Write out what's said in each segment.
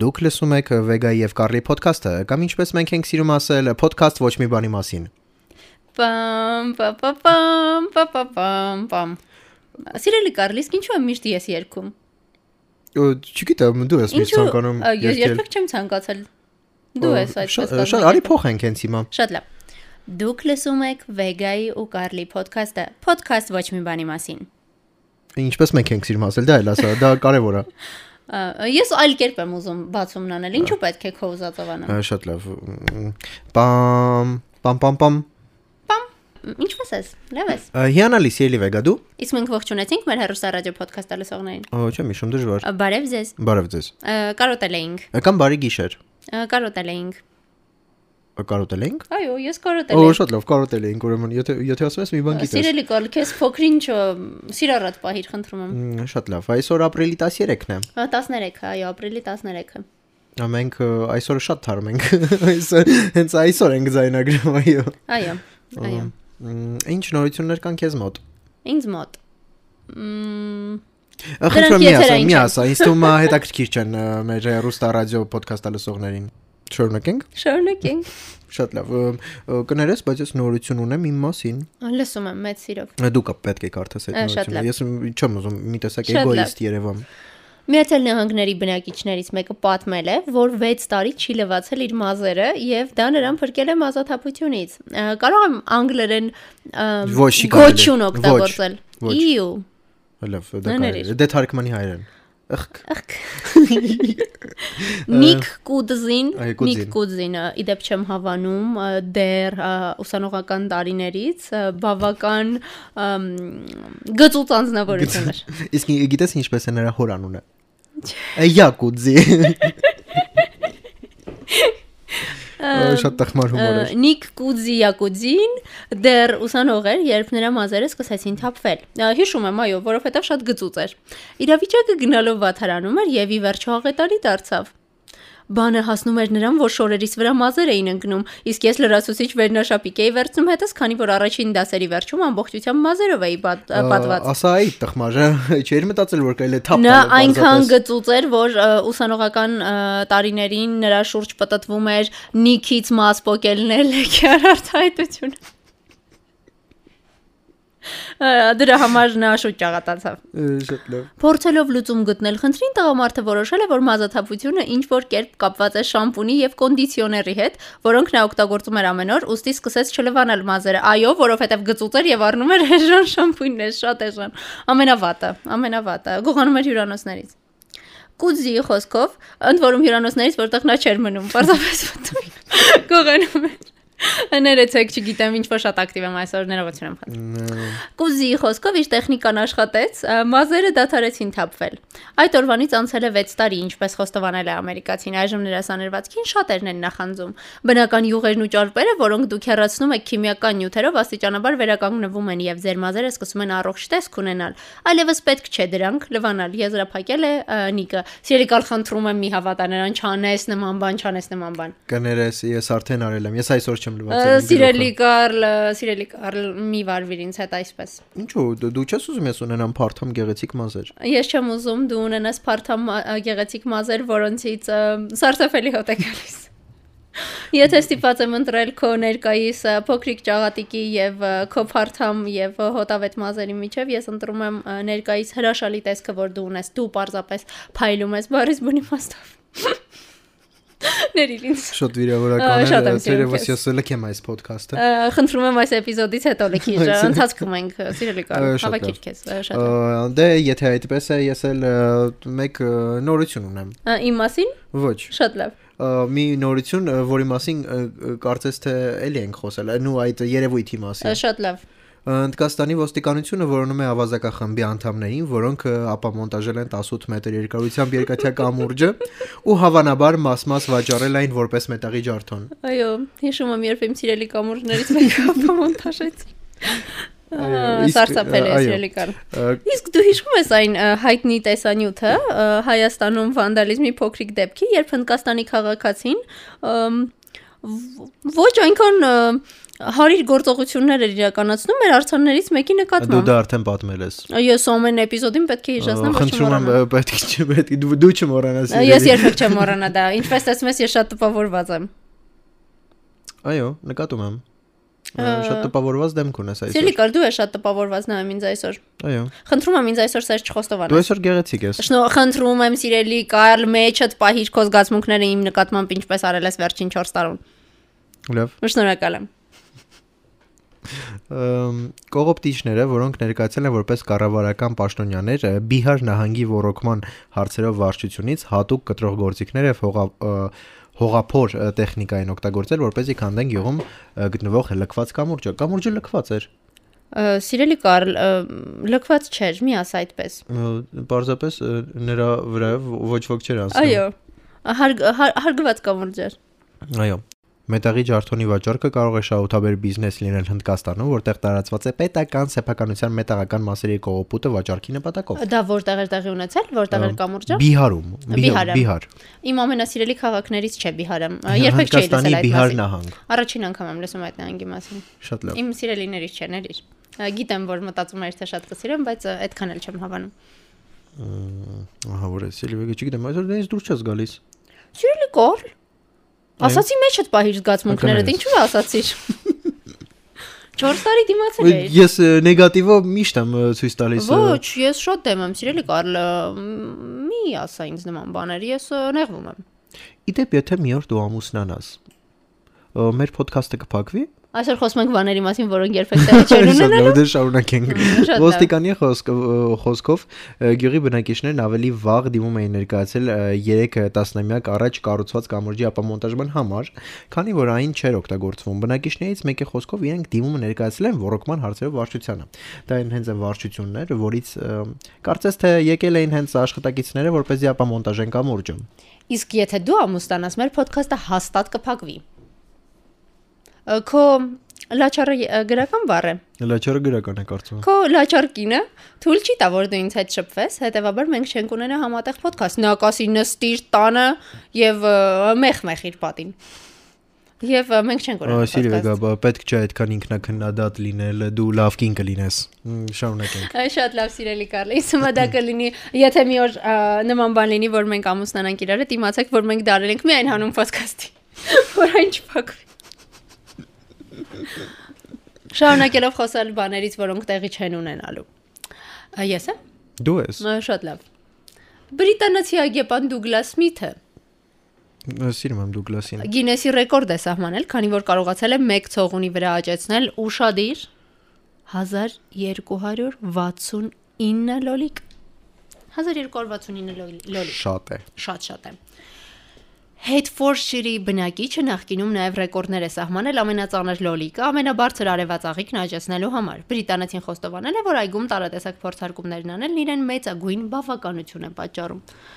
Դուք լսում եք Vega եւ Carly podcast-ը, կամ ինչպես մենք ենք սիրում ասել, podcast ոչ մի բանի մասին։ Պամ պա պա պամ պա պա պամ պամ։ Սիրելի Կարլիս, ինչու եմ միշտ ես երգում։ Ու Չգիտեմ, դու ես միշտ Ինչու ցանկանում ա, ես երբեք չեմ ցանկացել։ Դու ես Շատ այսպես շատ արի փոխենք հենց հիմա։ Շատ լավ։ Դուք լսում եք Վեգայի ու Կարլի podcast-ը։ Podcast ոչ մի բանի մասին։ Ինչպես մենք ենք սիրում ասել, դա էլ ասա, դա կարևոր է։ Ա, Ես այլ կերպ եմ ուզում բացումն անել։ Ինչու պետք է քո ուզածով Ա, անեմ։ Շատ լավ։ Պամ պամ պամ պամ։ Ինչպես ես։ Լավ ես։ Ա, Հիանալի սիրելի Vega դու։ Իսկ մենք ողջունեցինք մեր հերոսա ռադիո podcast-ը լսողներին։ Ա, Չեմ հիշում դժվար։ Ա, Բարև ձեզ։ Բարև ձեզ։ Ա, Կարոտել էինք։ Ա, Կամ բարի գիշեր։ Ա, Կարոտել էինք։ Ա, Կարոտել ենք։ Այո, ես Օ, կարոտել եմ։ շատ լավ, կարոտել ենք, ուրեմն, եթե եթե ասում ես մի բան գիտես։ Սիրելի Կարլ, քեզ փոքրինչ ա, սիրառատ պահիր, խնդրում եմ։ Մ, Շատ լավ։ Այսօր ապրիլի 13-ն է։ Ա, 13-ը, այո, ապրիլի 13-ը։ Ա, Մենք ը, այսօր շատ թարմ ենք։ Այսօր հենց այսօր ենք զայնագրում, այո։ Այո, այո։ Մ, Ինչ նորություններ կան քեզ մոտ։ Ինձ մոտ։ Մմ, Ա, Խնդրեմ մի եթեր ասա, այն մի չեն։ ասա, ինձ թվում է հետաքրքիր չեն ը, մեր ռուստա ռադիո ոդքասթը լսողներին։ Շնորհակենք։ Շարունակենք։ Շատ լավ։ ը, ը, Կներես, բայց ես նորություն ունեմ իմ մասին։ Լսում եմ մեծ սիրով։ Ա, Դու կա պետք է կարդաս այդ Ա, շատ նորությունը։ լավ։ Ես մ, չեմ ուզում մի տեսակ Շատ լավ։ էգոիստ Երևան։ Միացյալ Նահանգների բնակիչներից մեկը պատմել է, որ 6 տարի չի լվացել իր մազերը եւ դա նրան փրկել է մազաթափությունից։ Ա, Կարող եմ անգլերեն ա, Ոչ, չի կարելի։ գոչուն Ոչ, օգտագործել։ ոչ։ Իյու։ Լավ, դա Ներիր։ կարելի։ է, Դե թարգմանի հայերեն։ Ըխք։ Նիկ Կուդզին, այո, Կուդզին։ Նիկ Կուդզինը իդեպ չեմ հավանում ա, դեռ ա, ուսանողական տարիներից ա, բավական ամ, գծուց անձնավորություն էր։ Իսկ ի- գիտես ինչպես է նրա հորանունը։ Յակուզի։ Ա, Շատ տխմար հումոր Ա, էր։ Նիկ Կուդզի Յակուդզին դեռ ուսանող էր, երբ նրա մազերը սկսեցին թափվել։ Ա, Հիշում եմ, այո, որովհետև շատ գծուց էր։ Իրավիճակը գնալով վաթարանում էր եւ ի վերջո աղետալի դարձավ։ Բանը հասնում էր նրան, որ շորերից վրա մազեր էին ընկնում, իսկ ես լրացուցիչ վերնաշապիկ էի վերցնում հետս, քանի որ առաջին դասերի վերջում ամբողջությամբ մազերով էի պատ- պատված։ Ա, Ասա այ տխմարը, չէր մտածել որ կարելի է թափ Նա տալ, այնքան պարզապես։ գծուծ էր, որ ը, ուսանողական ը, տարիներին նրա շուրջ պատտվում էր Նիքից մաս փոկելնել քարարտայտություն։ Դրա համար նա շուտ ճաղատացավ։ Ա, Շատ լավ։ Փորձելով լուծում գտնել խնդրին, տղամարդը որոշել է, որ մազաթափությունը ինչ որ կերպ կապված է շամպունի եւ կոնդիցիոների հետ, որոնք նա օգտագործում էր ամեն օր, ուստի սկսեց չլվանալ մազերը։ Այո, որովհետեւ գծուծ էր եւ առնում էր էժան շամպուններ, շատ էժան։ Ամենավատը, ամենավատը, գողանում էր հյուրանոցներից։ Կուզի խոսքով, ընդ որում հյուրանոցներից որտեղ նա չէր մնում, պարզապես մտնում գողանում էր։ Ներեցեք, չգիտեմ, ինչ որ շատ ակտիվ եմ այսօր, ներողություն եմ խնդրում։ Կուզի խոսքով իր տեխնիկան աշխատեց, ա, մազերը դադարեցին թափվել։ Այդ օրվանից անցել է 6 տարի, ինչպես խոստովանել է ամերիկացին, այժմ նրա սաներվածքին շատերն են նախանձում։ Բնական յուղերն ու ճարպերը, որոնք դուք հեռացնում եք քիմիական նյութերով, աստիճանաբար վերականգնվում են եւ ձեր մազերը սկսում են առողջ տեսք ունենալ։ Այլևս պետք չէ դրանք լվանալ։ Եզրափակել է ա, Նիկը։ Սիրելի կալ խնդրում եմ մի հավատա նրան չանես նման բան, չանես նման բան։ Կներես, ես արդեն արել եմ։ Ես այսօր չեմ Ա, լվացել։ իմ Սիրելի գլուխը։ Կարլ, ա, սիրելի Կարլ, մի վարվիր ինձ հետ այսպես։ Ինչու դու- դու չես ուզում ես ունենամ բարթամ գեղեցիկ մազեր։ Ես չեմ ուզում դու ունենաս փարթամ ա, գեղեցիկ մազեր, որոնցից ը, սարսափելի հոտ է գալիս։ Եթե ստիպված եմ ընտրել քո ներկայիս ա, փոքրիկ ճաղատիկի եւ ա, քո փարթամ եւ ա, հոտավետ մազերի միջև, ես ընտրում եմ ա, ներկայիս հրաշալի տեսքը, որ դու ունես, դու պարզապես փայլում ես բարիս բունի մաստով։ Ներիր ինձ։ Շատ վիրավորական Ա, շատ է, եմ սիրում թերևս քեզ։ ես լքեմ այս podcast-ը։ ա, Խնդրում եմ այս էպիզոդից հետո լքի ա, Այո, ընթացքում ենք, ա, սիրելի Այո, կարող, շատ լավ։ հավաքիր քեզ, ա, շատ։ լավ։ Ա, Դե եթե այդպես է, ես էլ ա, մեկ ա, նորություն ունեմ։ Ա, Իմ մասին Ոչ, շատ լավ։ ա, մի նորություն, ա, որի մասին ա, ա, կարծես թե էլի ենք խոսել, նու այդ երևույթի մասին։ ա, Շատ լավ։ Հնդկաստանի ոստիկանությունը որոնում է ավազակախմբի անդամներին, որոնք ը, ապամոնտաժել են 18 մետր երկարությամբ երկաթյա կամուրջը ու հավանաբար մաս-մաս վաճառել այն որպես մետաղի ջարդոն։ Այո, հիշում եմ, երբ իմ սիրելի կամուրջներից մեկը ապամոնտաժեց։ Այո, իսկ, Սարսափել է այո։ սիրելի կան։ Ա, Իսկ դու հիշում ես այն ա, հայտնի տեսանյութը ա, Հայաստանում վանդալիզմի փոքրիկ դեպքի, երբ Հնդկաստանի քաղաքացին ամ, վ- ոչ այնքան ը, հարիր գործողություններ էր իրականացնում մեր արցաններից մեկի Դու նկատմամբ։ դա արդեն պատմել ես։ Ես ամեն էպիզոդին պետք է հիշեցնեմ, ոչ Խնդրում եմ, չմոռանամ։ պետք չէ, պետք դու դու չմոռանաս։ Ես երբեք չեմ մոռանա դա։ Ինչպես ասում ես, ես շատ տպավորված եմ։ Այո, նկատում եմ։ Ա, Ա, Շատ տպավորված դեմք ունես այսօր։ Սիրիկար, դու ես շատ տպավորված նայում ինձ այսօր։ Այո։ Խնդրում եմ ինձ այսօր սեր Դու չխոստովանես։ այսօր գեղեցիկ ես։ Շնո, խնդրում եմ սիրելի Կարլ, մեջդ պահիր քո զգացմունքները իմ նկատմամբ ինչպես արել ես վերջին 4 տարում։ Լավ։ Շնորհակալ եմ։ Ըմ, Կողոպտիչները, որոնք ներկայացել են որպես կառավարական պաշտոնյաներ ը, Բիհար նահանգի ռոռոկման հարցերով վարչությունից հատուկ կտրող գործիքներ եւ հողա ը, հողափոր ը, տեխնիկային օգտագործել, որպեսզի քանդեն գյուղում ը, գտնվող լքված կամուրջը։ Կամուրջը լքված էր։ Ա, Սիրելի Կարլ, ա, լքված չէր, մի ասա այդպես։ ը, Պարզապես ը, նրա վրա ո- ոչ ոք չէր անցնում։ Այո։ Հարգ- հար- Հարգված կամուրջ էր։ Այո։ Մետաղի ջարդոնի վաճառքը կարող է շահութաբեր բիզնես լինել Հնդկաստանում, որտեղ տարածված է պետական սեփականության մետաղական մասերի կողոպուտը վաճառքի նպատակով։ Դա որտեղ էր տեղի ունեցել, որտեղ էր Ա, կամուրջը։ Բիհարում, Բիհար, Բիհարը։ Բիհար։ Իմ ամենասիրելի քաղաքներից չէ Բիհարը։ Ա, Երբեք չէի Հնդկաստանի լսել այդ Բիհար մասին։ նահանգ։ Առաջին անգամ եմ լսում այդ նահանգի մասին։ Շատ լավ։ Իմ սիրելիներից չէ, ներիր։ Ա, Գիտեմ, որ մտածում ես թե շատ կսիրեմ, բայց ա, այդքան էլ չեմ հավանում։ Ահա որ է, Սիլվիա, չգիտեմ, այսօր դենից դուրս չես գալիս։ Սիրելի Կարլ։ Ասացի մեջդ պահիր զգացմունքներդ, Ակնհայտ։ ինչու՞ ասացիր։ 4 տարի դիմացել էի։ Ես ը, նեգատիվը միշտ եմ ը, ցույց տալիս։ ը, Դե Ոչ, ես շատ դեմ եմ, սիրելի Կարլ, ը, մի ասա ինձ նման բաներ, ես ը, նեղվում եմ։ Իդեպ, եթե մի օր դու ամուսնանաս, ը, մեր ոդքասթը կփակվի։ Այսօր խոսում ենք բաների մասին, որոնք երբեք տեղի չեն Շատ ունենալու։ լավ, դե շարունակենք։ Մ, շատ լավ։ Ոստիկանի խոսք- ը, խոսքով ը, գյուղի բնակիչներն ավելի վաղ դիմում էին ներկայացել 3 տասնամյակ առաջ կառուցված կամուրջի ապամոնտաժման համար, քանի որ այն չէր օգտագործվում։ Բնակիչներից մեկի խոսքով իրենք դիմումը ներկայացել են ռոռոկման հարցերով վարչությանը։ Դա այն հենց այն վարչությունն էր, որից ը, կարծես թե եկել էին հենց աշխատակիցները, որպեսզի ապամոնտաժեն կամուրջը։ Իսկ եթե դու ամուսնանաս, մեր ոդքասթը հաստատ կփակվի։ Ը, Քո լաչարը ե- գրական բառ է։ Լաչորը գրական է կարծում։ Քո լաչարկինը թույլ չի տա որ դու ինձ հետ շփվես, հետեւաբար մենք չենք ունենա համատեղ ոդքասթ։ Նա կասի նստիր տանը եւ մեղ-մեղ իր պատին։ Եվ ը, մենք չենք ունենա։ podcast։ Սիրիվեգա, պետք չէ այդքան ինքնակնդադատ լինել, դու լավ կին կլինես։ Մ, Շարունակենք։ Այ շատ լավ սիրելի Կարլ, ինձ հիմա դա կլինի, եթե մի օր ա, նման բան լինի, որ մենք ամուսնանանք իրար հետ, իմացեք, որ մենք դարել ենք միայն հանուն ոդքասթի, որ այն չփակվի։ Շարունակելով խոսալ բաներից, որոնք տեղի չեն ունենալու։ Ա, Ես եմ, Դու ես։ Ա, շատ լավ։ Բրիտանացի հագեպան Դուգլաս Սմիթը Սիրում եմ Դուգլասին։ Գինեսի ռեկորդ է սահմանել, քանի որ կարողացել է 1 ցողունի վրա աճեցնել ուշադիր 1269 լոլիկ։ 1269 լոլ- լոլիկ Շատ է։ շատ-շատ է։ Հետֆորշիրի բնակիչը նախկինում նաև ռեկորդներ է սահմանել ամենածանր լոլիկը ամենաբարձր արևած աղիքն աճեցնելու համար։ Բրիտանացին խոստովանել է, որ այգում տարատեսակ փորձարկումներն անելն իրեն մեծագույն բավականություն է պատճառում։ Ա,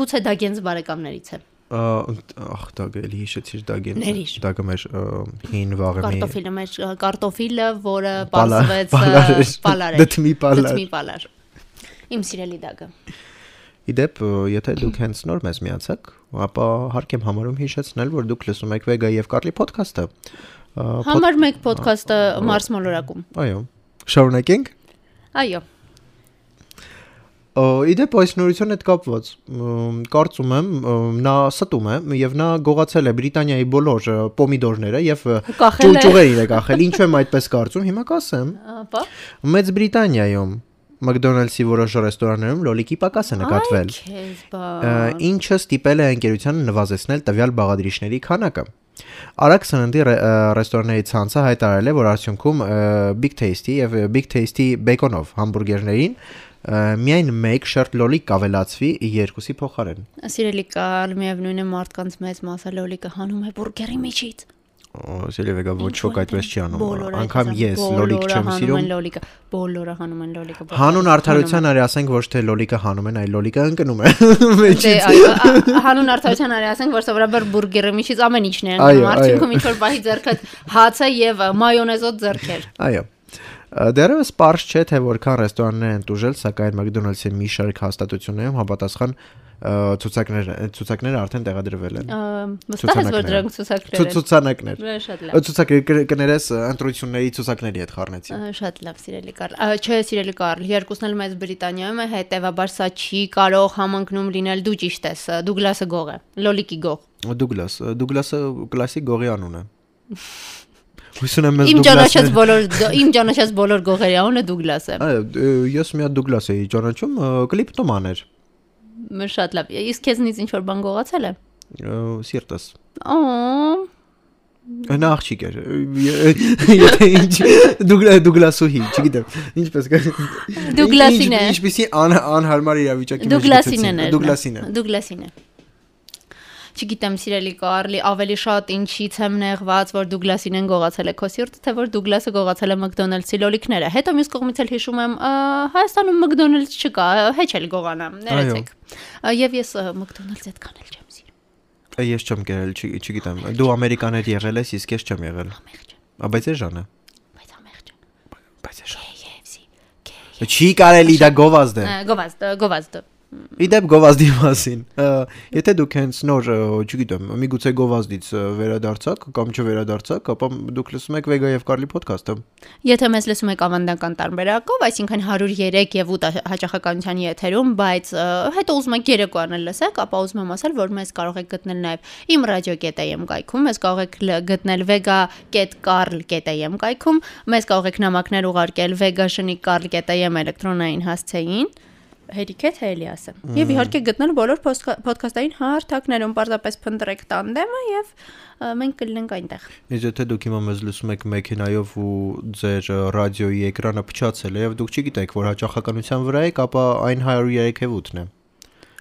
Գուցե դա գենց բարեկամներից է։ Ա, Ախ, դա գելի հիշեցիր դա գեն։ Ներիր։ Դա կմեր ը, հին վաղեմի։ Կարտոֆիլը մեր ա, կարտոֆիլը, որը Պալա- պարզվեց ա, պալար էր, պալար էր։ դդմի պալար։ Դդմի պալար։ Իմ սիրելի դագը։ Իդեպ, ը, եթե դուք հենց նոր մեզ միացաք, ապա հարկեմ համարում հիշեցնել, որ դուք լսում եք Vega եւ Carly podcast-ը։ Ա, պոդ- Համար 1 ոդքասթը Մարս մոլորակում։ Այո։ Շարունակենք։ Այո։ Ա, Իդեպ այս նորության հետ կապված մ, կարծում եմ ը, նա ստում է եւ նա գողացել է Բրիտանիայի բոլոր ը, պոմիդորները եւ ը, Կախել է։ ճուճուղերին է կախել։ Ինչու եմ այդպես կարծում, հիմա կասեմ։ Ապա։ Մեծ Բրիտանիայում McDonald's-ի որոշ ռեստորաններում լոլիկի պակաս է նկատվել։ Այ քեզ ը, բա։ Ինչը ստիպել է ընկերությանը նվազեցնել տվյալ բաղադրիչների քանակը։ Արագ սննդի ռե- ը, ռեստորանների ցանցը հայտարարել է, որ արդյունքում ը, Big Tasty եւ ը, Big Tasty Bacon-ով համբուրգերներին ը, միայն 1 շերտ լոլիկ կավելացվի երկուսի փոխարեն։ Սիրելի Կարլ, միևնույն է մարդկանց մեծ մասը լոլիկը հանում է բուրգերի միջից։ Սելևեգա ոչ Ինչ ոք որ այդպես չի դե, անում։ բոլորը Անկամ այդպես ես են, լոլիկ բոլորը չեմ հանում սիրում։ են Լոլիկը, բոլորը հանում են լոլիկը։ բոլորը Հանուն հանում արդարության արի ասենք ոչ թե լոլիկը հանում են, այլ լոլիկը ընկնում է են։ Դե, մեջից։ այո, ա- ա- հանուն արդյոք արի ասենք, որ սովորաբար բուրգերի միջից ամեն ինչն է Այո, անում, այո։ արդյունքում ինչ որ բայի ձեռքդ հացը եւ ա, մայոնեզոտ ձեռքեր։ Այո։ Ա, Դեռևս པարզ չէ թե որքան ռեստորաններ են դուժել, սակայն McDonald's-ի մի շարք հաստատություններում համապատասխան ցուցակներ ցուցակները արդեն տեղադրվել են։ Մստահ ես որ Ցուցանակները։ Ցու- Ցուցանակներ։ դրանք ցուցակներ են։ Ուրեմն շատ լավ։ Ցուցակներ կներես ընտրությունների ցուցակների հետ խառնեցի։ Ա, Շատ լավ, սիրելի Կարլ։ Ա, Չէ, սիրելի Կարլ, երկուսն էլ մեծ Բրիտանիայում է, հետևաբար սա չի կարող համընկնում լինել, դու ճիշտ ես։ ա, Դուգլասը գող է, Լոլիկի գող։ Դուգլաս, Դուգլասը կլասիկ գողի անուն է։ Հույս ունեմ մեզ Իմ Դուգլասը։ ճանաչած բոլոր գ- իմ ճանաչած բոլոր գողերի անունը Դուգլաս է։ Այո, դ- ես մի հատ Դուգլաս էի ճանաչում, ը, կլիպտոման էր։ Մը շատ լավ։ Իսկ քեզնից ինչ որ բան գողացել է։ ը, Սիրտս։ Օ, Նա աղջիկ էր։ ը, ե- Եթե ինչ Դուգլա Դուգլասուհի, չգիտեմ, ինչպես կա։ Դուգլասին է։ ինչ- Ինչպեսի ան անհարմար իրավիճակի մեջ Դուգլասին են։ գցեցին։ Դուգլասին է։ Դուգլասին է։ Չգիտեմ, սիրելի Կարլի, ավելի շատ ինչից եմ նեղված, որ Դուգլասին են գողացել է քո սիրտը, թե որ Դուգլասը գողացել է McDonald's-ի լոլիկները։ Հետո մյուս կողմից էլ հիշում եմ, ա, Հայաստանում McDonald's չկա, ա, հեչ էլ գողանա, ներեցեք։ Ա, Եվ ես ա, McDonald's այդքան էլ չեմ սիրում։ Ա, Ես չեմ գերել, չի- չգիտեմ։ Դու ամերիկաներ եղել ես, իսկ ես չեմ եղել։ Ամեղջ, եմ, Ա, Բայց էժան է։ բայց ամեղջ։ եմ, Բայց էժան։ KFC, KFC։ Չի կարելի դա գովազդ է։ Ա, Գովազդ, ա, գովազդ։ Իդեպ գովազդի մասին։ ը, Եթե դուք հենց նոր, ը, չգիտեմ, միգուցե գովազդից ը, վերադարձաք կամ չվերադարձաք, ապա դուք լսում եք Vega եւ Carly podcast-ը։ Եթե մեզ լսում եք ավանդական տարբերակով, այսինքն 103 եւ 8 հա- հաճախականության եթերում, բայց ը, հետո ուզում եք երեկոյան էլ լսեք, ապա ուզում եմ ասել, որ մեզ կարող եք գտնել նաեւ իմ radio.am կայքում, մեզ կարող եք լ- գտնել vega.carl.am կայքում, մեզ կարող եք նամակներ ուղարկել vega.carl.am էլեկտրոնային հասցեին հերիք է թե Էլիասը։ Եվ իհարկե գտնել բոլոր պոստքա- ոդքասթային հարթակներում, պարզապես փնտրեք տանդեմը եւ ը, մենք կլինենք այնտեղ։ Իսկ եթե դուք հիմա մեզ լսում եք մեքենայով ու ձեր ը, ռադիոյի էկրանը փչացել է եւ դուք չգիտեք, որ հաճախականության վրա եք, ապա այն 103.8-ն է։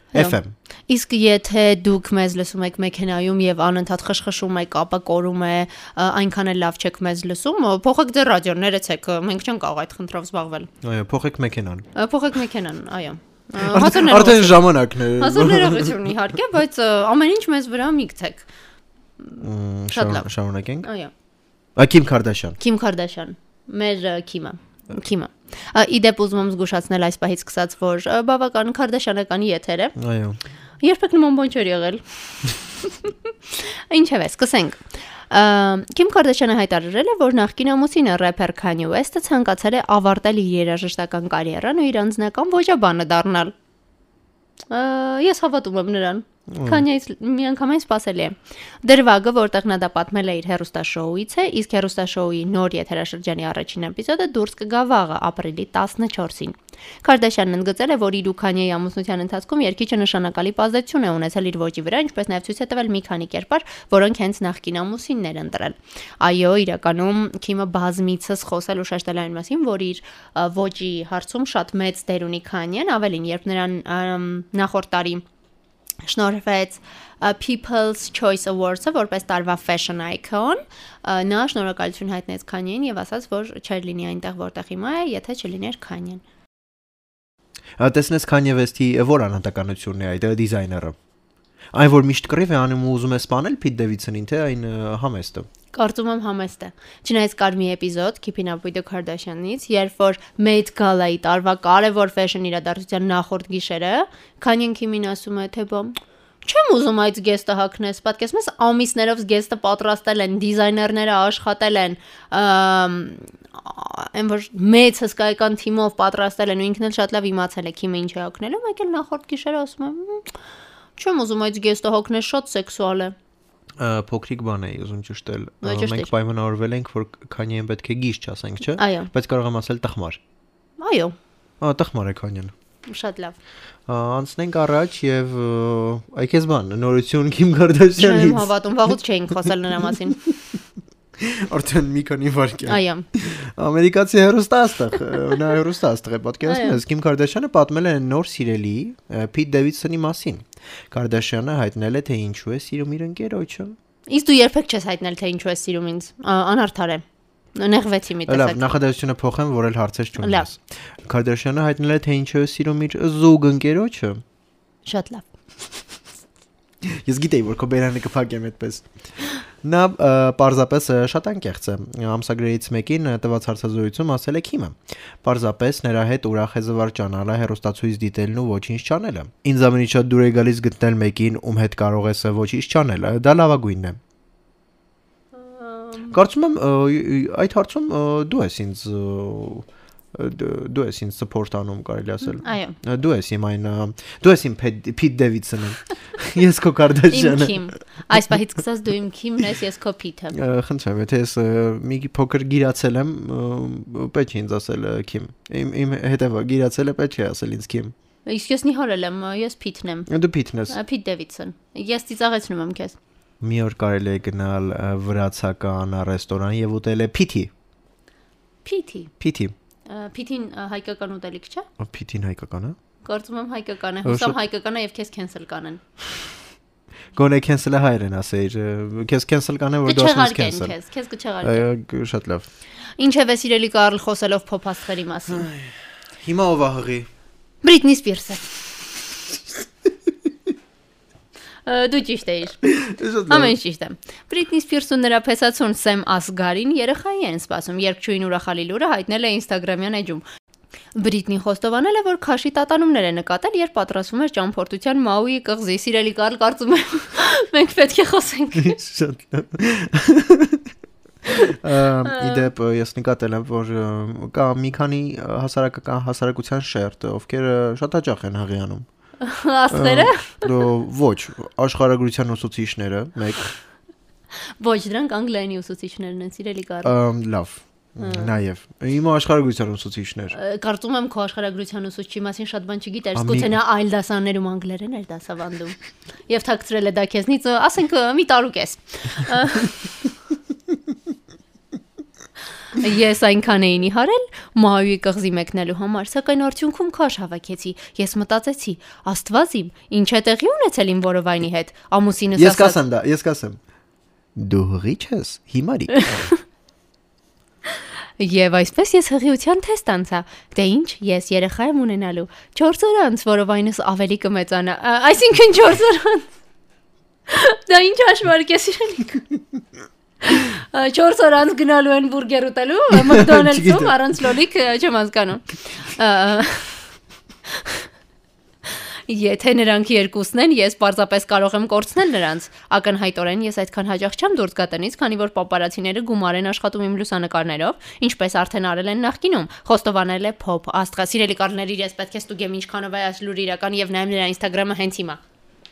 Հա։ FM։ Իսկ եթե դուք մեզ լսում եք մեքենայում եւ անընդհատ խշխշում եք, ապա կորում է, ա, այնքան էլ լավ չեք մեզ լսում, ա, փոխեք ձեր ռադիոն, ներեցեք, ա, մենք չենք կարող այդ խնդրով զբաղվել։ Այո, փոխեք մեքենան։ Ա, Փոխեք մեքենան, այո։ Ա, Արդեն հազար արդեն ժամանակն է։ ներողություն իհարկե, բայց ա, ամեն ինչ մեզ վրա միգցեք։ Մ, Շատ շարու- լավ։ Շարունակենք։ Այո։ Ակիմ Քարդաշյան։ Քիմ Կարդաշյան, մեր ը, Քիմը, Քիմը։ Ա, Իդեպ ուզում եմ զգուշացնել այս պահից սկսած, որ ա, բավական Կարդաշյանական եթեր է։ Այո։ Երբեք նման բան չէր եղել։ Ինչևէ, սկսենք։ Ա, Քիմ Կարդաշյանը հայտարարել է, որ նախկին ամուսինը рэփեր Քանյե Ուեսթը ցանկացել է ավարտել իր երաժշտական կարիերան ու իր անձնական ոճաբանը դառնալ։ Ա, Ես հավատում եմ նրան։ Քանյայից մի անգամ այն սпасելի է։ Դրվագը, որտեղ նա դա պատմել է իր հերոստաշոուից է, իսկ հերոստաշոուի նոր եթերաշրջանի առաջին էպիզոդը դուրս կգա վաղը, ապրիլի 14-ին։ Կարդաշյանն ընդգծել է, որ իր ու Քանյայի ամուսնության ընթացքում երկիչը նշանակալի ազդեցություն է ունեցել իր ոճի վրա, ինչպես նաև ցույց է տվել մի քանի կերպար, որոնք հենց նախկին ամուսինն էր ընտրել։ Այո, իրականում Քիմը բազմիցս խոսել ու շեշտել այն մասին, որ իր ա, ոճի հարցում շատ մեծ դեր ունի Քանյեն, ավելին, երբ նրան ամ, նախորդ տարի շնորհվեց ա, People's Choice Awards-ը որպես տարվա fashion icon։ ա, Նա շնորհակալություն հայտնեց Քանյեն եւ ասաց, որ չէր լինի այնտեղ, որտեղ հիմա է, եթե չլիներ Քանյեն։ Ա, Տեսնես Kanye West-ի որ անհատականությունն է այդ ը, դիզայները։ Այն որ միշտ կռիվ է անում ու ուզում է սپانել Pete Davidson-ին, թե այն ը, համեստը։ Կարծում եմ համեստ է։ Չնայած կար մի էպիզոդ Keeping Up with the Kardashians-ից, երբ որ Met Gala-ի տարվա կարևոր ֆեշն իրադարձության նախորդ գիշերը, Kanye Kim-ին ասում է, թե բամ Չեմ ուզում այդ գեստը հակնես, պատկերացնես ամիսներով գեստը պատրաստել են, դիզայներները աշխատել են, ըմ, այն որ մեծ հսկայական թիմով պատրաստել են ու ինքն էլ շատ լավ իմացել է Քիմը ինչ է հակնելու, մեկ էլ նախորդ գիշերը ասում եմ, չեմ ուզում այդ գեստը հակնես, շատ սեքսուալ է։ Ա, Փոքրիկ բան է ուզում ճշտել։ Ո, Ա, ճշտիր։ Մենք պայմանավորվել ենք, որ Kanye-ն պետք է գիժ չասենք, չէ՞։ Այո։ Բայց կարող եմ ասել տխմար։ Այո, Ա, տխմար է Kanye-ն։ շատ լավ։ Ա, Անցնենք առաջ եւ ը, այ քեզ բան նորություն Kim Չեմ Kardashian-ից։ հավատում, վաղուց չէինք խոսել նրա մասին։ Արդեն մի քանի վարքյա։ Այո, Ամերիկացի հերոստա աստղ, ը, նա հերոստա աստղ է պատկերացնում, Այո։ ես Kim Kardashian-ը պատմել է նոր սիրելի ը, Pete Davidson-ի մասին։ Kardashian-ը հայտնել է, թե ինչու է սիրում իր ընկերոջը։ իսկ դու երբեք չես հայտնել թե ինչու ես սիրում ինձ։ Ա, Անարդար է։ Նեղվեցի մի Լավ, տեսակ։ նախադասությունը փոխեմ, որ էլ հարցեր Լավ։ չունես։ Kardashian-ը հայտնել է, թե ինչու է սիրում իր զուգ ընկերոջը։ Շատ լավ։ Ես գիտեի, որ քո բերանը կփակեմ այդպես։ Նա ը, պարզապես ը, շատ անկեղծ է։ Ամսագրերից մեկին ը, տված հարցազրույցում ասել է քիմը։ Պարզապես նրա հետ ուրախ է զվարճանալը, հերոստացույց դիտելն ու ոչինչ չանելը։ Ինձ ամենից շատ դուր է գալիս գտնել մեկին, ում հետ կարող ես ը, ոչինչ չանելը։ Դա լավագույնն է։ Կարծում եմ ը, ը, այդ հարցում ը, դու ես ինձ ը, ը, դու- դու ես ինձ support անում կարելի ասել։ Այո։ Ա, Դու ես իմ այն ա, դու ես իմ Փեդ- Փիթ Դեվիդսոնը։ Ես քո Իմ Կարդաշյանը։ քիմ։ Այս պահից սկսած դու իմ քիմն ես, ես քո Փիթը։ Ա, Խնդրեմ, եթե ես ա, մի քի փոքր գիրացել եմ, ա, պետք է ինձ ասել ա, Քիմ։ Իմ իմ հետևա գիրացել է, պետք է ասել ինձ Քիմ։ Իսկ ես նիհարել եմ, ես Փիթն եմ։ Դու Փիթն ես։ Ա, Փիթ Դեվիդսոն։ Ես ծիծաղեցնում եմ քեզ։ Մի օր կարելի է գնալ ա, վրացական ռեստորան եւ ուտել է Փիթի։ Փիթի։ Փիթի։ Ա, Փիթին ա, հայկական ուտելիք չէ։ Ա, Փիթին հայկական է։ Կարծում եմ հայկական է, Ա, հուսամ շատ- հայկական է եւ քեզ քենսել կանեն։ Գոնե cancel-ը հայերեն ասեիր։ ա, Քեզ cancel կանեմ, որ դու ասես Կչեղարկեն cancel։ քեզ, քեզ Ա, կչեղարկեն։ գ- Շատ լավ։ Ինչևէ, սիրելի Կարլ, խոսելով փոփաստղերի մասին։ Հիմա ով է հղի։ Բրիտնի Սպիրսը։ Դու ճիշտ ես։ Շատ լավ։ Ամեն ինչ ճիշտ է։ Բրիտնի Սպիրսն ու նրա փեսացուն Սեմ Ասգարին երեխայի են սպասում։ Երկչույն ուրախալի լուրը հայտնել է Instagram-յան էջում։ Բրիտնի խոստովանել է, որ քաշի տատանումներ է նկատել, երբ պատրաստվում էր ճամփորդության Մաուի կղզի։ Սիրելի Կարլ, կարծում եմ մենք պետք է խոսենք։ Շատ լավ։ Ա, Իդեպ ես նկատել եմ, որ ը, կա մի քանի ը, հասարակական հասարակության շերտ, ովքեր ը, շատ հաճախ են հղիանում։ Աստղերը։ Դո ոչ, աշխարհագրության ուսուցիչները, մեկ Ոչ, դրանք անգլերենի ուսուցիչներն են, սիրելի Կարլ։ ը, լավ, նաև իմ աշխարհագրության ուսուցիչներ։ Ա, Կարծում եմ քո աշխարհագրության ուսուցչի մասին շատ բան չգիտեր, Ամի- սկսեցնա այլ դասաներում անգլերեն էր դասավանդում։ Եվ թաքցրել է դա քեզնից, ը, ասենք ը, մի տարուկ ես։ Ա, Ես այնքան էին իհարել Մահուի կղզի մեկնելու համար, սակայն արդյունքում քաշ հավաքեցի։ Ես մտածեցի, Աստված իմ, ինչ է տեղի ունեցել իմ որովայնի հետ։ Ամուսինս Ես կասեմ դա, ես կասեմ։ Դու հղի ես, հիմարի։ Եվ այսպես ես հղիության թեստ անցա։ Դե ինչ, ես երեխա եմ ունենալու 4 օր անց, որով այնս ավելի կմեծանա։ Ա, Այսինքն 4 օր անց։ Դա ինչ հաշվարկ է սիրելիք։ 4 օր անց գնալու են բուրգեր ուտելու McDonald's-ում Չգիտեմ։ առանց լոլիկ ա, չեմ հասկանում։ Ա, Եթե նրանք երկուսն են, ես պարզապես կարող եմ կորցնել նրանց։ Ակնհայտորեն ես այդքան հաջող չեմ դուրս գա տնից, քանի որ պապարացիները գումար են աշխատում իմ լուսանկարներով, ինչպես արդեն արել են նախկինում։ Խոստովանել է փոփ, աստղա, սիրելի կարների, ես պետք է ստուգեմ ինչքանով է այս լուրը իրական եւ նայեմ նրա Instagram-ը հենց հիմա։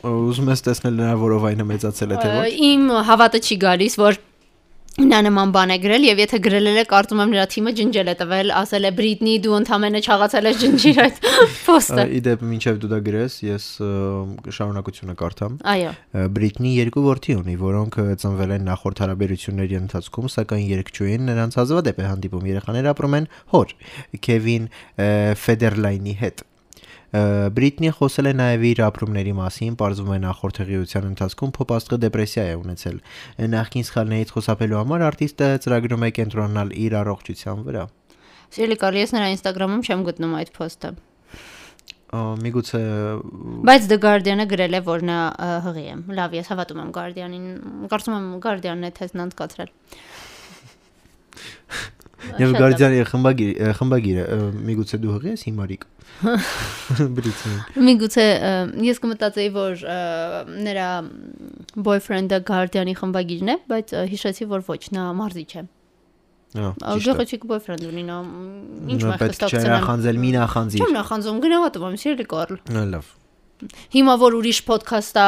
Ուզում ես տեսնել նրա որովայնը մեծացել է թե ոչ։ Ա, Իմ հավատը չի գալիս, որ նա նման բան է գրել եւ եթե գրել է, կարծում եմ նրա թիմը ջնջել է տվել, ասել է Բրիտնի, դու ընդամենը չաղացել ես ջնջիր այդ Ա, post-ը։ Իդեպ մինչև դու դա գրես, ես ը, շարունակությունը կարդամ։ Այո։ Բրիտնի երկու որդի ունի, որոնք ը, ծնվել են նախորդ հարաբերությունների ընթացքում, սակայն երկչույն նրանց հազվադեպ է հանդիպում։ Երեխաները ապրում են հոր Քևին ը, Ֆեդերլայնի հետ։ Ը, Բրիտնի խոսել է նաև իր ապրումների մասին, ողջում է նախորդ հղիության ընթացքում փոփաստղը դեպրեսիա է ունեցել։ Նախքին սխալներից խոսապելու համար արտիստը ծրագրում է կենտրոնանալ իր առողջության վրա։ Սիրելի կարելի ես նրա Instagram-ում չեմ գտնում այդ post-ը։ Ա, Միգուցե Բայց The Guardian-ը գրել է, որ նա ը, հղի է։ Լավ, ես հավատում եմ Guardian-ին։ Կարծում եմ Guardian-ն է թեզն անցկացրել։ եւ Շատ լավ։ Գարդիանի խմբագիր ը, խմբագիրը ը, միգուցե դու հղի ես հիմարիկ։ Բրիտնի Միգուցե ը, ես կմտածեի, որ ը, նրա boyfriend-ը Guardian-ի խմբագիրն է, բայց ը, հիշեցի, որ ոչ, նա մարզիչ է։ Ա, Ա, ճիշտ է։ Գեղեցիկ boyfriend ունի նա։ մ, Ինչ մա պետք չէ նախանձել մի նախանձի։ Չեմ նախանձում, գնահատում եմ, սիրելի Կարլ։ Նա լավ։ Հիմա որ ուրիշ ոդքասթա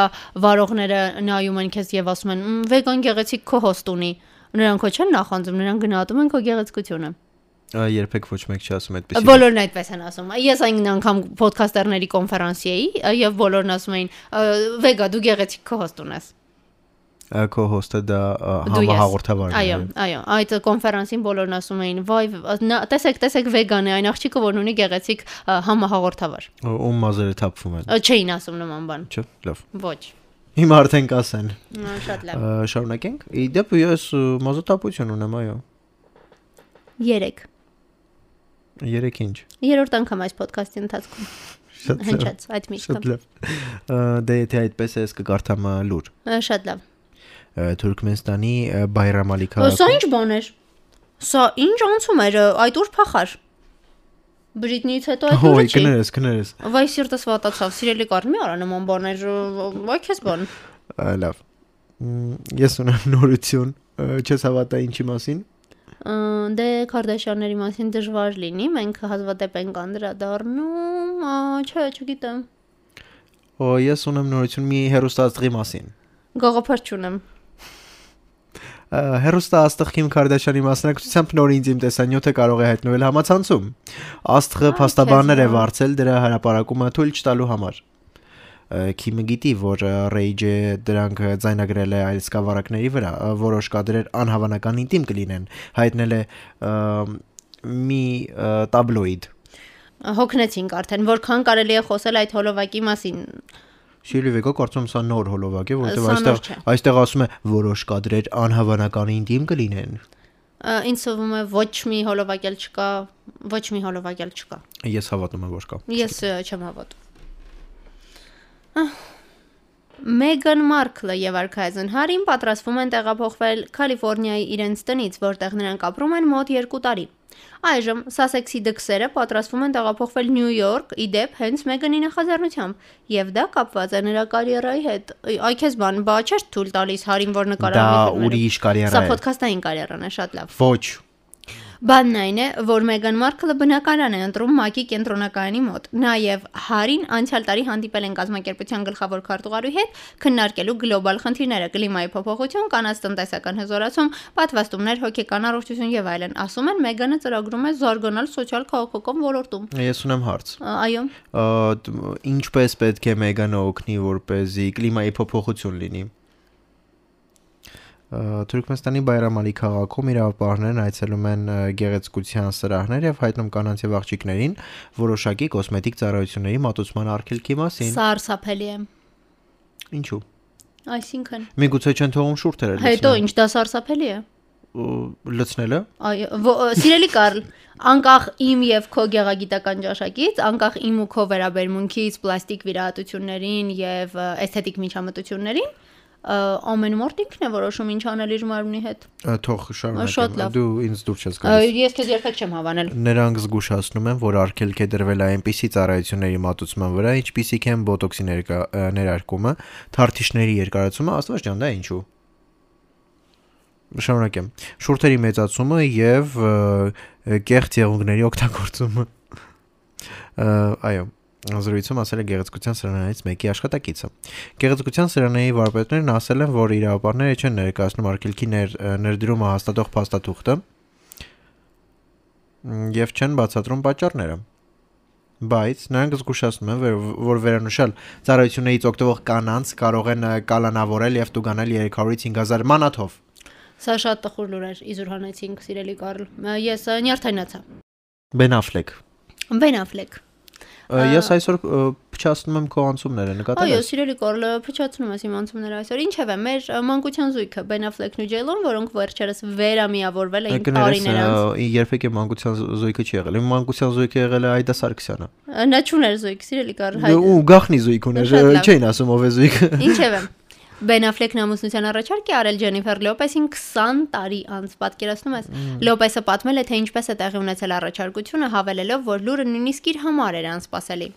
վարողները նայում են քեզ եւ ասում են՝ «Մ, «Վեգան գեղեցիկ քո հոստ ունի»։ Նրանք ոչ են նախանձում, նրանք գնահատում են քո գեղեցկությունը։ Ա, Երբեք ոչ մեկ չի ասում այդպես։ Բոլորն այդպես են ասում։ Ես այն անգամ ոդքասթերների կոնֆերանսի էի եւ բոլորն ասում էին՝ «Ա, «Վեգա, դու գեղեցիկ քո հոստ ունես»։ Քո հոստը դա ա, Դու ես։ համահաղորդավարն Այո, այո, այդ կոնֆերանսին բոլորն ասում էին՝ «Վայ, նա- տեսեք, տեսեք, վեգան է այն աղջիկը, որն ունի գեղեցիկ ա, համահաղորդավար»։ է։ Ու մազերը թափվում են։ Ա, Չէին ասում նման բան։ Չէ, լավ։ Ոչ։ Հիմա արդեն կասեն։ Ա, Շատ Ա, լավ։ Շարունակենք։ Իդեպ ես ը, մազոթափություն ունեմ, այո։ 3 Երեք ինչ։ Երորդ անգամ այս ոդքասթի ընթացքում Շատ լավ։ հնչած այդ միտքը։ Շատ լավ։ Ա, Դե եթե այդպես է, ես կգարթամ ա, լուր։ Ա, Շատ լավ։ Ա, ը, Թուրքմենստանի ը, Բայրամալի Սա քաղաքում։ ի՞նչ բան էր։ Սա ի՞նչ անցում էր ը, այդ ուր փախար։ Բրիտնից հետո այդ Հոյ, օրը չի։ կներես, կներես։ Վայ սիրտս վատացավ, սիրելի կար, մի արա նման բաներ, ը, վայ քեզ բան։ Ա, Լավ։ Մ, Ես ունեմ նորություն, ը, չես հավատա ինչի մասին։ Ը, Դե Քարդաշյանների մասին դժվար լինի, մենք հազվադեպ ենք անդրադառնում, ա, չէ, չգիտեմ։ Ո, ես ունեմ նորություն մի հերոստաստղի մասին։ Գողափար չունեմ։ Հերոստա աստղ Քիմ Կարդաշյանի մասնակցությամբ նոր ինձ իմ տեսանյութը կարող է հայտնվել համացանցում։ Աստղը փաստաբաններ է քեզ, ա։ վարձել դրա հարաբերակումը թույլ չտալու համար։ Ա, Քիմը գիտի, որ ա, Rage-ը դրանք ա, ձայնագրել է այլ սկավառակների վրա, ա, որոշ կադրեր անհավանական ինտիմ կլինեն։ Հայտնել է ա, մի ա, տաբլոիդ։ Հոգնեցինք արդեն, որքան կարելի է խոսել այդ հոլովակի մասին։ Շիլիվեկո կարծում եմ սա նոր հոլովակ է, որովհետև Սա նոր այստեղ չէ։ այստեղ ասում է որոշ կադրեր անհավանական ինտիմ կլինեն։ Ա, Ինձ ով է ոչ մի հոլովակել չկա, ոչ մի հոլովակել չկա։ Ես հավատում եմ, որ կա։ Ես ը, չեմ հավատում։ Մեգան Մարկլը եւ Արքայզեն Հարին պատրաստվում են տեղափոխվել Կալիֆոռնիայի իրենց տնից, որտեղ նրանք ապրում են մոտ 2 տարի։ Այժմ Սասեքսի դքսերը պատրաստվում են տեղափոխվել Նյու Յորք, իդեպ հենց Մեգանի նախաձեռնությամբ, եւ դա կապված է նրա կարիերայի հետ։ Այ- Այ քեզ բան, բա չէ՞ թույլ տալիս Հարին, որ Դա նկարահանի։ ֆիլմերում։ ուրիշ կարիերա է։ Սա ոդքասթային կարիերան է, շատ լավ։ Ոչ։ Բանն այն է, որ Մեգան Մարկլը բնակարան է ընտրում Մակի կենտրոնակայանի մոտ։ Նաև Հարին անցյալ տարի հանդիպել են գազམ་ակերպության գլխավոր քարտուղարի հետ, քննարկելու գլոբալ խնդիրները՝ կլիմայի փոփոխություն, կանաց տնտեսական հզորացում, պատվաստումներ, հոգեկան առողջություն եւ այլն։ Ասում են Մեգանը ծրագրում է զարգանալ սոցիալ քաղաքական ոլորտում։ Ես ունեմ հարց։ Ա, Այո, Ա, դ- Ինչպես պետք է Մեգանը օգնի, որ เป զի կլիմայի փոփոխություն լինի։ Ա, Թուրքմենստանի Բայրամալի քաղաքում իրավապահներն այցելում են ա, գեղեցկության սրահներ եւ հայտնում կանանց եւ աղջիկներին որոշակի կոսմետիկ ծառայությունների մատուցման արգելքի մասին։ սա արսափելի է։ Ինչու։ Այսինքն Միգուցե չեն թողում շուրթերը հետո ինչ դա սարսափելի է։ Ա, լցնելը։ Այո, ո- ո- սիրելի Կարլ, անկախ իմ եւ քո գեղագիտական ճաշակից, անկախ իմ ու քո վերաբերմունքից, պլաստիկ վիրահատություններին եւ ը, էսթետիկ միջամտություններին, ը, ամեն մարդ ինքն է որոշում ինչ անել իր մարմնի հետ։ Ա, Թող շատ շարունակեմ։ լավ։ Դու ինձ դուր չես Ա, գալիս։ Ես քեզ երբեք չեմ հավանել։ Նրանք զգուշացնում են, որ արգելք է դրվել այնպիսի ծառայությունների մատուցման վրա, ինչպիսիք են բոտոքսի ներկա- ը, ներարկումը, թարթիշների երկարացումը, աստված ջան, դա ինչու։ Շնորհակալ։ Շուրթերի մեծացումը եւ ը, կեղծ եղունգների օգտագործումը։ Ա, Այո, զրույցում ասել է գեղեցկության սրանից մեկի աշխատակիցը։ Գեղեցկության սրանայի վարպետներն ասել են, որ իրավապահները չեն ներկայացնում արգելքի ներ, ներդրումը հաստատող փաստաթուղթը, մ, եւ չեն բացատրում պատճառները։ Բայց նրանք զգուշացնում են, որ- որ վերանշալ ծառայություններից օգտվող կանանց կարող են ը, կալանավորել եւ տուգանել 300-ից 5000 մանաթով։ Սա շատ տխուր լուր էր, իզուրհանեցինք, սիրելի Կարլ։ Ա, Ես ը, նյարդայնացա։ Բեն Աֆլեկ։ Բեն Աֆլեկ։ Ը, Ես այսօր ը, փչացնում եմ քո անցումները, նկատել Այո, ես։ սիրելի Կարլը փչացնում ես իմ անցումները այսօր։ Ինչևէ, մեր ը, մանկության զույգը Բեն Աֆլեկն ու Ջեյլոն, որոնք վերջերս վերամիավորվել էին Կներես, տարիներ անց։ ը, երբեք եմ մանկության զ- զույգը չի եղել։ Իմ մանկության զույգը եղել է Այդա Սարգսյանը։ Նա չուներ զույգ, սիրելի կար հայ։ Դու ու գախնի զույգ ուներ, Շատ ը, լավ։ չէին ասում ով է զույգը։ Ինչևէ։ Բեն Աֆլեկն ամուսնության առաջարկ է արել Ջենիֆեր Լոպեսին 20 տարի անց, պատկերացնում ես։ Լոպեսը պատմել է, թե ինչպես է տեղի ունեցել առաջարկությունը, հավելելով, որ լուրը նույնիսկ իր համար էր անսպասելի։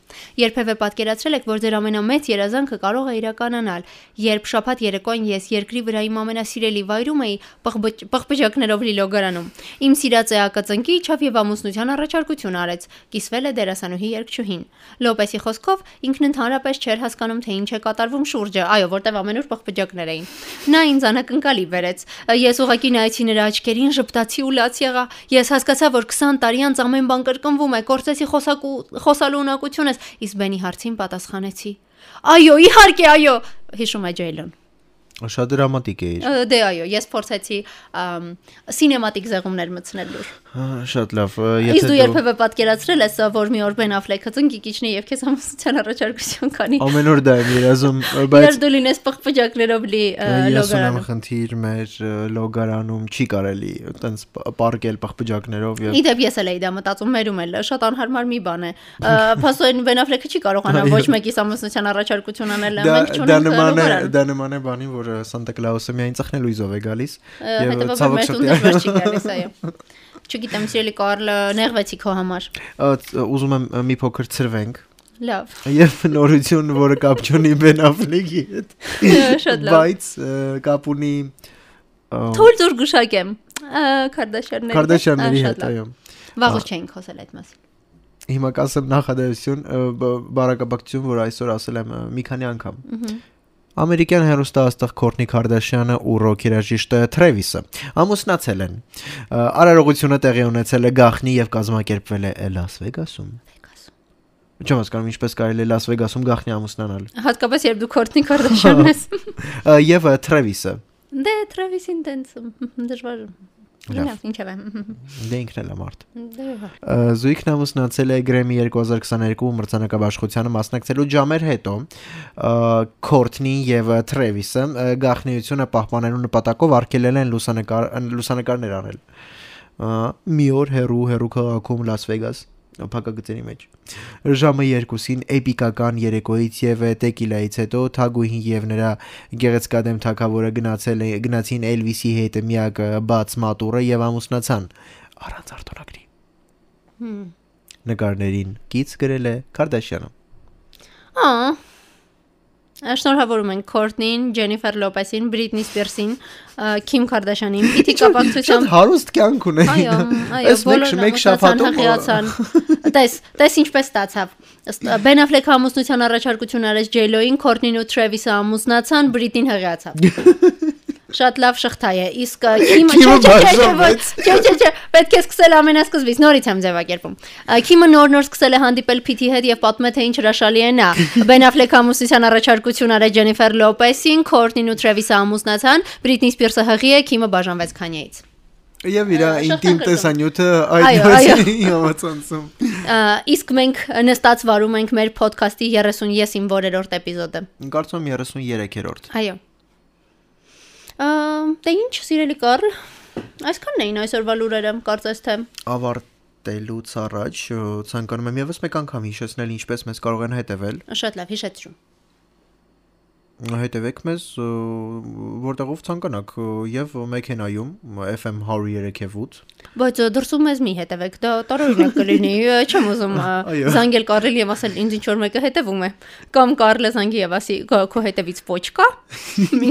Երբևէ պատկերացրել եք, որ ձեր ամենամեծ երազանքը կարող է իրականանալ։ Երբ շփաթ երեկոյն ես երկրի վրա իմ ամենասիրելի վայրում էի, պղբջ- պղպջակներով լի լոգարանում։ Իմ սիրած էակը ծնկի իջավ եւ ամուսնության առաջարկություն արեց։ Կիսվել է դերասանուհի երգչուհին։ Լոպեսի խոսքով ինքն ընդհանրապես չէր հասկանում, թե ինչ է կատարվում շուրջը, այո, որտեվ ամենուր պղպջակներ էին։ Նա ինձ անակնկալի վերեց։ Ես ուղակի նայեցի նրա աչքերին, ժպտացի ու լաց եղա։ Ես հասկացա, որ 20 տարի անց ամեն բան կրկնվում է, կործեցի խոսակու խոսալու ունակությունս, իսկ Բենի հարցին պատասխանեցի. Այո, իհարկե, այո, հիշում է Ջեյլոն։ Շատ դրամատիկ է իր։ Ա, Դե այո, ես փորձեցի ամ, սինեմատիկ զեղումներ մտցնել լուր։ Ա, Շատ լավ, ը, Իսկ եթե դու երբևէ պատկերացրել ես, որ մի օր Բեն Աֆլեքը ծնկիկիչն է եւ քեզ ամուսնության առաջարկություն կանի։ ամենուր դա եմ երազում, ը, բայց Երբ դու լինես պղպջակներով լի ա, Ես ունեմ լոգարանում։ խնդիր մեր ը, լոգարանում չի կարելի այտենց պարկել պղպջակներով եւ Իդեպ ես էլ էի դա մտածում, մերում էլ շատ անհարմար մի բան է։ Ա, Փաստորեն Բեն Աֆլեքը չի կարողանա ոչ մեկի ամուսնության առաջարկություն անել, դա մենք դա չունենք նման է լոգարան։ դա նման է բանին որ որ Սանտա Կլաուսը միայն ծխնելույզով է գալիս Հետևաբար մեր տունը ոչ չի գալիս, այո։ Չգիտեմ, սիրելի Կարլը նեղվեցի քո համար։ Ա, ց- ուզում եմ ա, մի փոքր ծրվենք Լավ, եւ նորություն, որը կապ չունի Ben Affleck-ի հետ, շատ լավ։ բայց ա, կապ ունի ա, Թույլ դուր գուշակեմ։ ա, Քարդաշյանների հետ, Քարդաշյանների ա, հետ, շատ լավ։ այո։ Վաղուց չէինք խոսել այդ մասը։ Հիմա կասեմ նախադասություն, ա, բ- բարակապակցություն, որ այսօր ասել եմ ա, մի քանի անգամ։ Ամերիկյան հերոստաստղ Քորտնի Քարդաշյանը ու ռոքերաժիշտ Թրևիսը ամուսնացել են։ Ա, Արարողությունը տեղի ունեցել է Գախնի եւ կազմակերպվել է Լաս Վեգասում։ Չեմ հասկանում ինչպես կարելի է Լաս Վեգասում Գախնի ամուսնանալ։ Հատկապես երբ դու Քորտնի Քարդաշյանն ես։ Ա, Եվ ա, Թրևիսը, Դե Travis-ին տենց դժվար։ Լավ։ Լավ, ինչև է։ դե ինքն էլ է մարդ։ Դե հա։ Ա, Զույգն ամուսնացել է Grammy 2022 մրցանակաբաշխությանը մասնակցելու ժամեր հետո ա, Քորտնին եւ ա, Թրևիսը ա, գաղտնիությունը պահպանելու նպատակով արկելել են լուսանկար լուսանկարներ անել։ Ա, Մի օր հերու հերու քաղաքում Լաս Վեգաս փակագծերի մեջ ժամը 2-ին էպիկական երեկոից եւ տեկիլայից հետո Թագուհին եւ նրա գեղեցկադեմ թակավորը գնացել է- գնացին Էլվիսի հետ միակ ա, բաց մատուրը եւ ամուսնացան առանց արտոնագրի Հմ։ նկարներին գից գրել է Կարդաշյանը։ Ա շնորհավորում ենք Քորտնին, Ջենիֆեր Լոպեսին, Բրիտնի Սպիրսին, Քիմ Կարդաշյանին, Պիտի Շատ կապակցությամբ։ հարուստ կյանք ունեին։ Այո, այո, բոլորը մեկ մտածան, շաբաթում հղիացան։ Տես, տես ինչպես ստացավ։ Ըստ- Ben Affleck-ը ամուսնության առաջարկություն արեց J.Lo-ին, Courtney-ն ու Travis-ը ամուսնացան, Britney-ն հղիացավ։ Շատ լավ շղթայ է։ Իսկ ա, Քիմը Քիմը չէ, չէ, չէ, չէ, բաժանվեց։ ոչ, չէ, չէ, չէ, պետք է սկսել ամենասկզբից, նորից եմ ձևակերպում։ Ա, Քիմը նոր-նոր սկսել է հանդիպել Փիթի հետ եւ պատմել թե ինչ հրաշալի է նա։ Ben Affleck-ը ամուսնության առաջարկություն արեց Jennifer Lopez-ին, Courtney-ն ու Travis-ը ամուսնացան, Britney Spears-ը հղի է, Քիմը բաժանվեց Kanye-ից։ եւ իր ինտիմ շղթակը կա։ տեսանյութը Այո, այդ այո։ մասին համացանցում։ Ա, Իսկ մենք նստած վարում ենք մեր ոդքասթի 30-ին որերորդ էպիզոդը։ Կարծում եմ 33-րդ։ Այո։ Ամ, Դե ինչ, սիրելի Կարլ, այսքանն էին այսօրվա լուրերը, կարծես թե։ Ավարտելուց առաջ ը, ցանկանում եմ եւս մեկ անգամ հիշեցնել ինչպես մեզ կարող են հետևել։ Շատ լավ, հիշեցրու։ Հետևեք մեզ ը, որտեղով ցանկանաք ը, եւ մեքենայում FM 103.8 Բայց ա, դրսում ես մի հետևեք, դա տարօրինակ կլինի, ա, չեմ ուզում ա, Այո։ զանգել Կարլին եւ ասել ինձ ինչ որ մեկը հետևում է, կամ Կարլը զանգի եւ ասի «Քո- քո հետևից ոչ կա։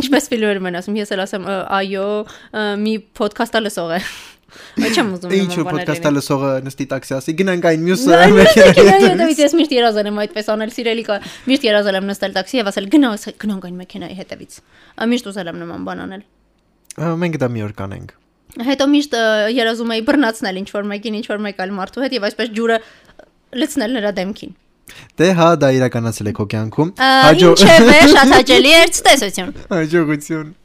Ինչպես ֆիլմերում են ասում, ես էլ ասեմ «Ա, այո, ա, մի ոդքասթա լսող է։ Չեմ ուզում։ Ինչ նման որ բաներ լինի։ ոդկասթը լսողը նստի տաքսի ասի գնանք այն մյուսը Այն մեքենայի մեքենայից ես միշտ երազել եմ այդպես անել, սիրելի կա։ Միշտ երազել եմ նստել տաքսի եւ ասել գնանք գնանք այն մեքենայի հետևից։ Ա, Միշտ ուզել եմ նման բան անել։ Ա, Մենք դա մի օր կանենք։ Հետո միշտ ը, երազում էի բռնացնել ինչ որ մեկին, ինչ որ մեկ այլ մարդու հետ եւ այսպես ջուրը լցնել նրա դեմքին։ Դե հա դա իրականացել եք հո կյանքում։ Ինչևէ, շատ հաճելի էր ցտեսություն։ հաջողություն։